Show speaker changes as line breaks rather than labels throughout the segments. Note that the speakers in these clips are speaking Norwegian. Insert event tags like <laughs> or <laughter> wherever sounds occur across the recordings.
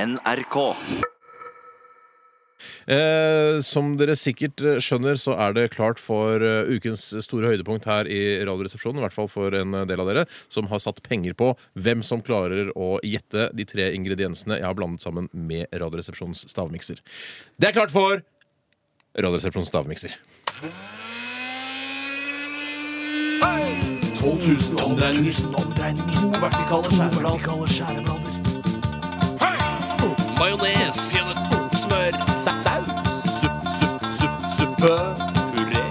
NRK.
Eh, som dere sikkert eh, skjønner, så er det klart for eh, ukens store høydepunkt her i Radioresepsjonen. I hvert fall for en eh, del av dere som har satt penger på hvem som klarer å gjette de tre ingrediensene jeg har blandet sammen med Radioresepsjonens stavmikser. Det er klart for Radioresepsjonens stavmikser.
12 000 omdreininger. To vertikale skjæreblader. Majones. Smør. Saus. Supp, supp, supp, suppe. Puré.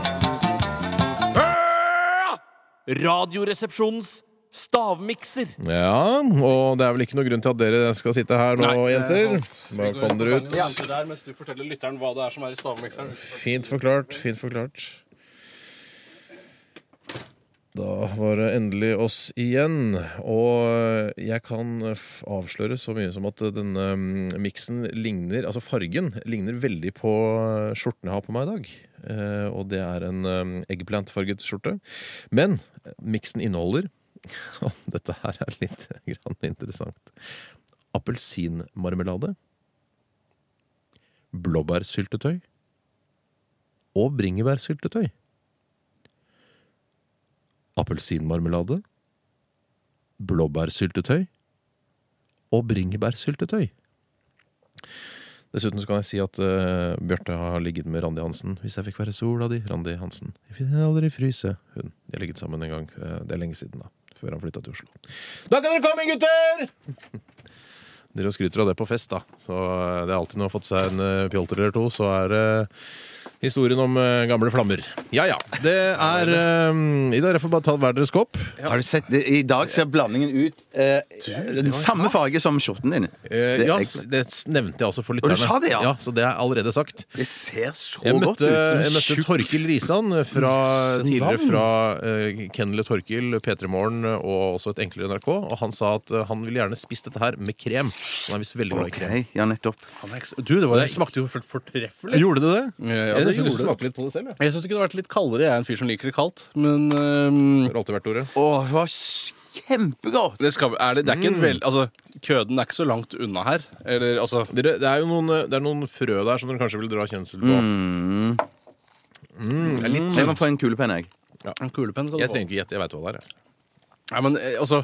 Radioresepsjonens stavmikser.
Ja, og det er vel ikke noe grunn til at dere skal sitte her nå, jenter. Bare kom dere ut.
Ja. Der, mens du forteller lytteren hva det er som er i stavmikseren.
Fint forklart, fint forklart. Da var det endelig oss igjen. Og jeg kan f- avsløre så mye som at denne mm, miksen ligner Altså fargen ligner veldig på skjorten jeg har på meg i dag. Eh, Og det er en mm, eggplant-farget skjorte. Men miksen inneholder <laughs> Og dette her er litt <laughs> grann interessant. Appelsinmarmelade. Blåbærsyltetøy og bringebærsyltetøy. Appelsinmarmelade, blåbærsyltetøy og bringebærsyltetøy. Dessuten så kan jeg si at eh, Bjarte har ligget med Randi Hansen. Hvis jeg fikk være sola di, Randi Hansen. Jeg vil aldri fryse. Hun. De har ligget sammen en gang. eh, det er lenge siden, da. Før han flytta til Oslo. Da kan dere komme, gutter! <laughs> Dere skryter av det på fest, da. Så eh, det er alltid når man har fått seg en eh, pjolter eller to, så er det Historien om eh, gamle flammer. Ja ja. Det er eh, I dag får bare ta hver deres kopp.
Har du sett, det, I dag ser blandingen ut eh, den samme farge som skjorten din.
Eh,
Det-
ja,
jeg-
s- det s- nevnte jeg altså for
du
lytterne.
sa det, ja.
Så det er allerede sagt.
Det ser så
Jeg
godt
møtte,
ut.
jeg møtte Torkil Risan, eh, fra, tidligere fra uh, Kennel og Torkil, P3 Morgen eh, og også et enklere NRK. Og han sa at eh, han ville gjerne spist dette her med krem. Han er visst veldig glad i
Ok,
krem.
ja, nettopp.
Du, det, var, det smakte jo for- fortreffelig.
Gjorde du det?
ja,
jeg
det
nesten
gjorde det.
smakte litt på det selv. jeg.
Jeg syns det kunne vært litt kaldere. Jeg er en fyr som liker det kaldt. Men øhm,
Det har alltid vært ordet.
Åh, det var s- kjempegodt!
det, skal, er det, det er
Mm.
ikke en vel... Altså, køden er ikke så langt unna her. Eller altså
Dere, det er jo noen, eh, det er noen frø der som dere kanskje vil dra kjensel på. Mm, det er litt
Jeg må få en kulepenn, jeg.
En kulepenn kan du
Jeg
få.
trenger ikke gjette, jeg veit hva det er. jeg.
Nei, men eh, altså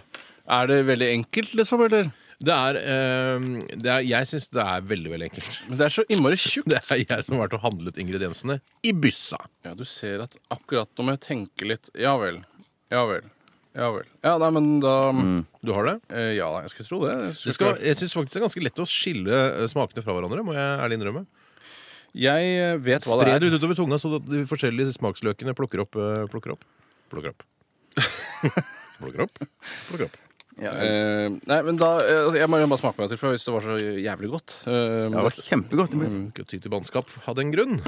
Er det veldig enkelt, liksom? Eller?
Det er, eh, det er Jeg syns det er veldig, veldig enkelt. <laughs>
Men det er så innmari tjukt.
Det er jeg som har vært og handlet ingrediensene i byssa.
Ja, du ser at akkurat nå må jeg tenke litt Ja vel. Ja vel. Ja vel. Ja, nei, men da
Du har det?
eh, Ja, jeg skulle tro det. Jeg,
Det
skulle
skal,
klart-
jeg syns faktisk det er ganske lett å skille eh, smakene fra hverandre, må jeg ærlig innrømme.
jeg eh, vet hva
Spre
det
det
er.
ut utover tunga, så at de forskjellige smaksløkene plukker opp. eh, Plukker opp. Plukker <laughs> opp. plukker opp. Plukker opp.
Eh, nei, men da eh, altså, Jeg må jo bare smake meg til, for hvis det var så jævlig godt eh,
Det var kjempegodt.
Ikke ty til bannskap av den grunn.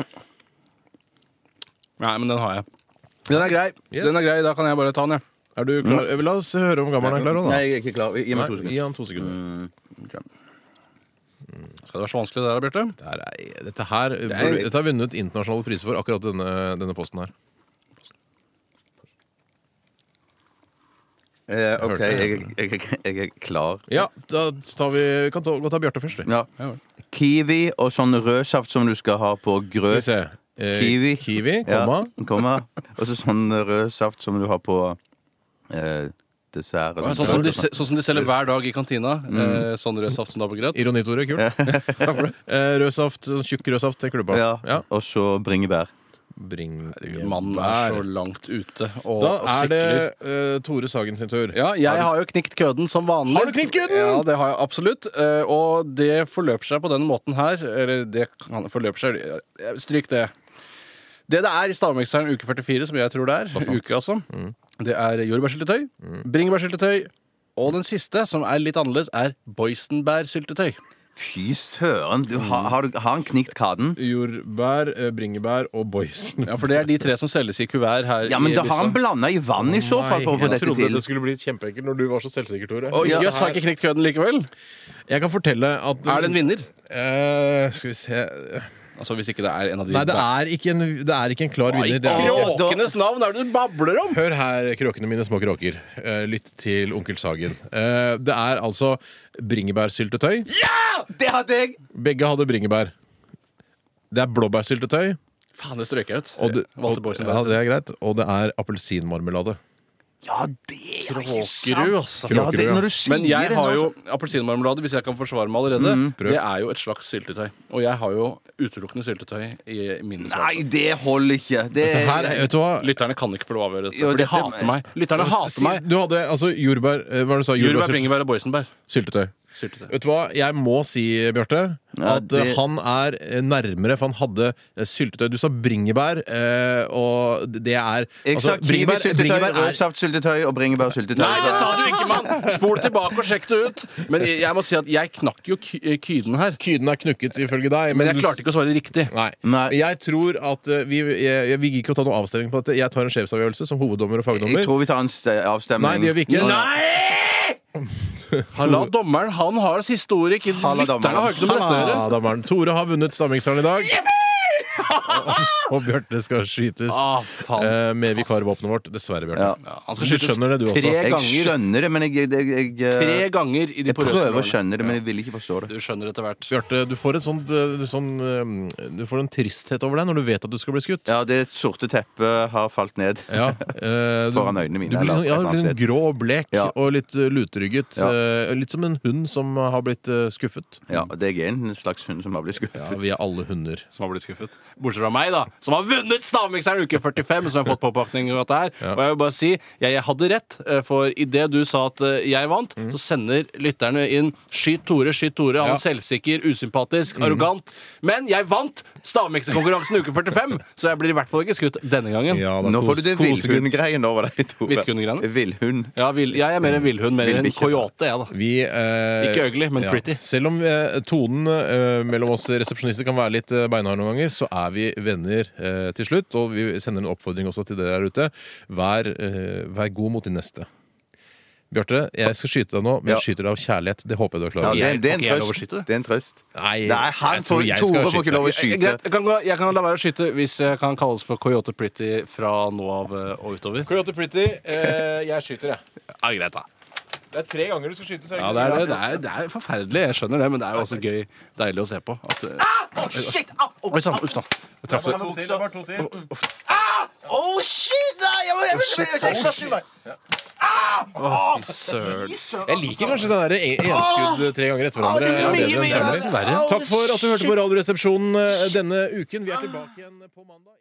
Nei, men den har jeg. Den er grei.
Yes.
Den er grei, Da kan jeg bare ta den, jeg.
Er du klar? Eh, La oss høre om gammelen er klar òg, da.
Nei, jeg er ikke klar. Gi meg to
Nei, Gi
sekunder. Mm.
han to sekunder. Mm.
Skal det være så vanskelig det der, Bjarte?
Det her er- Dette her
er-
burde- dette har vunnet internasjonale priser for, akkurat denne, denne posten her.
Eh, OK,
hørte
jeg, jeg, jeg, jeg er klar.
Ja, da tar vi, vi kan ta, gå og ta Bjarte først, vi.
Ja. Kiwi og sånn rødsaft som du skal ha på
Skal vi
grøt.
se. Eh,
Kiwi.
Kiwi,
Ja,
komma.
komma. Og så sånn rødsaft som du har på eh, dessert. eller
Sånn
grøt
som,
og
de,
sånn.
se- sånn som de selger hver dag i kantina. Eh, sånn rød saft som du har på grøt.
Ironitoret, <laughs> kult. Eh, rød saft, sånn tjukk rød saft til klubba.
Ja, Og så bringebær.
Bring
Mannen er så langt ute og,
Da
og
er det
sikler.
eh, Tore Sagen sin tur.
Ja, jeg har jo knikt køden som vanlig.
Har du knikt køden?
Ja, det har jeg absolutt. Eh, Og det forløper seg på denne måten her. Eller det kan forløpe seg eh, Stryk det. Det det er i Stavmikseren uke 44, som jeg tror det er, uke altså, det er jordbærsyltetøy, bringebærsyltetøy, og den siste, som er litt annerledes, er boysenbærsyltetøy.
Fy søren! Du, har, har, du, har han knikt kaden?
Jordbær, eh, bringebær og boysen.
Ja, for det er de tre som selges i kuvert her.
Ja, men
i
da har han
Lissa.
blanda i vann i så fall for å få
liksom. jeg
dette
trodde
til.
det skulle bli kjempeenkelt når du var så selvsikker, Tore.
Oi,
Ja,
Jøss, har jeg ikke knekt køden likevel?
Jeg kan fortelle at
Er det en vinner?
Eh, skal vi se
Altså Hvis ikke det er en av de
Nei, det er ikke en, det er ikke en klar vinner. Det er ikke.
Kråkenes navn er det du babler om!
Hør her, kråkene mine, små kråker. Eh, Lytt til Onkel Sagen. Eh, Det er altså bringebærsyltetøy.
Det hadde jeg!
Begge hadde bringebær. Det er blåbærsyltetøy.
Faen, det strøk jeg ut. altså.
Og det,
Walter
og,
Boysen
ja,
Dyson.
det er greit. Og det er appelsinmarmelade.
Ja, det er ikke
Kråkerud, altså.
Ja, det,
Kråkerud,
når
ja.
du sier altså- Mm.
Men jeg
det
har
nå,
jo
så-
appelsinmarmelade, hvis jeg kan forsvare meg allerede.
prøv.
det er jo et slags syltetøy. Og jeg har jo utelukkende syltetøy i min
Nei,
smak.
det holder ikke. Det,
Det her, altså, vet du hva?
Lytterne kan ikke få lov å avgjøre dette,
Jo,
for de
dette-
hater meg. Lytterne hater meg.
Du hadde altså jordbær eh, Hva var det du sa?
Jordbær,
Jordbær,
bringebær og boysenbær.
syltetøy.
Syltetøy.
Vet du hva? Jeg må si, Bjarte,
Ja,
at
det-
eh, han er eh, nærmere, for han hadde eh, syltetøy. Du sa bringebær, eh, og det er altså,
jeg sa kiwisyltetøy,
bringebær er
rødsaftsyltetøy og bringebærsyltetøy.
Nei, det sa du ikke, mann! Spol tilbake og sjekk det ut. Men jeg, jeg må si at jeg knakk jo ky eh, kyden her.
Kyden er knukket, ifølge deg.
Men jeg klarte ikke å svare riktig.
Nei.
Nei.
Men Jeg tror at eh, vi, jeg, jeg, vi gidder ikke å ta noen avstemning på dette. Jeg tar en sjefsavgjørelse som hoveddommer og
Jeg
fagdommer.
tror vi tar en ste- avstemning.
Nei, det gjør vi ikke.
<laughs> Han La dommeren, han har siste ordet. Ikke
Han la dommeren.
lytterne har ikke noe med dette å gjøre.
Ah, dommeren. Tore har vunnet Stammingseren i dag. <laughs> og og Bjarte skal skytes
Ah, faen.
eh, med vikarvåpenet vårt. Dessverre, Bjarte.
Ja.
Ja, han skal
Du
skytes
skjønner det, du
tre
også.
Jeg
ganger.
skjønner det, men jeg, jeg, jeg, jeg,
Tre
eh,
ganger i de
jeg
porøse
prøver å
årene.
skjønne det, men jeg vil ikke forstå det.
Du skjønner etter hvert.
Bjarte, du får et sånt, eh, du sånn, eh, Du får en tristhet over deg når du vet at du skal bli skutt.
Ja, det sorte teppet har falt ned.
Ja, eh, du-
Foran øynene mine,
Du blir
eller
sånn, ja,
et
du
eller
blir sånn
annet
grå og blek
Ja.
og litt eh, lutrygget.
Ja.
eh, litt som en hund som har blitt eh, skuffet.
Ja, og det er en slags hund som har blitt skuffet.
Ja, vi er alle hunder.
Som har blitt skuffet. Bortsett fra meg, da. Som har vunnet Stavmikseren uke 45, som jeg har fått påpakning av dette her. Og jeg vil bare si, jeg, jeg hadde rett, eh, for idet du sa at eh, jeg vant, så sender lytterne inn 'Skyt Tore, skyt Tore'. Han
Ja.
er selvsikker, usympatisk, arrogant. Men jeg vant stavmikserkonkurransen uke 45, så jeg blir i hvert fall ikke skutt denne gangen. Ja.
Nå får du det villhundgreien over deg, Tore.
Villhundgreiene?
Villhund.
vil, jeg er mer en villhund, mer en
Villbikkje.
coyote, jeg, da.
Vi, eh,
Ikke ugly, men pretty.
Selv om eh, tonen eh, mellom oss resepsjonister kan være litt eh, beinhard noen ganger, så er vi venner eh, til slutt. Og vi sender en oppfordring også til dere der ute. Vær, eh, vær god mot din neste. Bjarte, jeg skal skyte deg nå, men
Ja.
jeg skyter deg av kærlighet. Det håper jeg du
Ja,
er klar over.
det, er- det er en
Får ikke jeg lov å
trøst.
skyte?
Det er en trøst.
Nei,
Nei, han
jeg
får,
tror jeg skal
Tore får
skyte.
ikke lov å
Eh,
skyte.
Greit, jeg kan, gå- jeg kan la være å skyte hvis jeg kan kalles for coyote pretty fra nå av eh, og utover.
Coyote Pretty, Eh, jeg skyter, jeg.
Ja, greit da
Det er tre ganger du skal skyte.
Ja, det er, det, er, det er forferdelig, jeg skjønner det, men det er jo også gøy, deilig å se på. At, eh,
Å, shit! Au, au.
Oi sann, uff sånn. sann. Jeg traff det.
to til.
Oh, shit! Nei, jeg, jeg, jeg, jeg, jeg skal skyte meg.
Søren.
Jeg liker kanskje den der en- enskudd tre ganger etter hverandre.
det er mye,
bedre enn
mye
fremmer.
verre.
Nesten verre.
Takk for at du hørte på Radioresepsjonen eh, denne uken. Vi er tilbake igjen på mandag.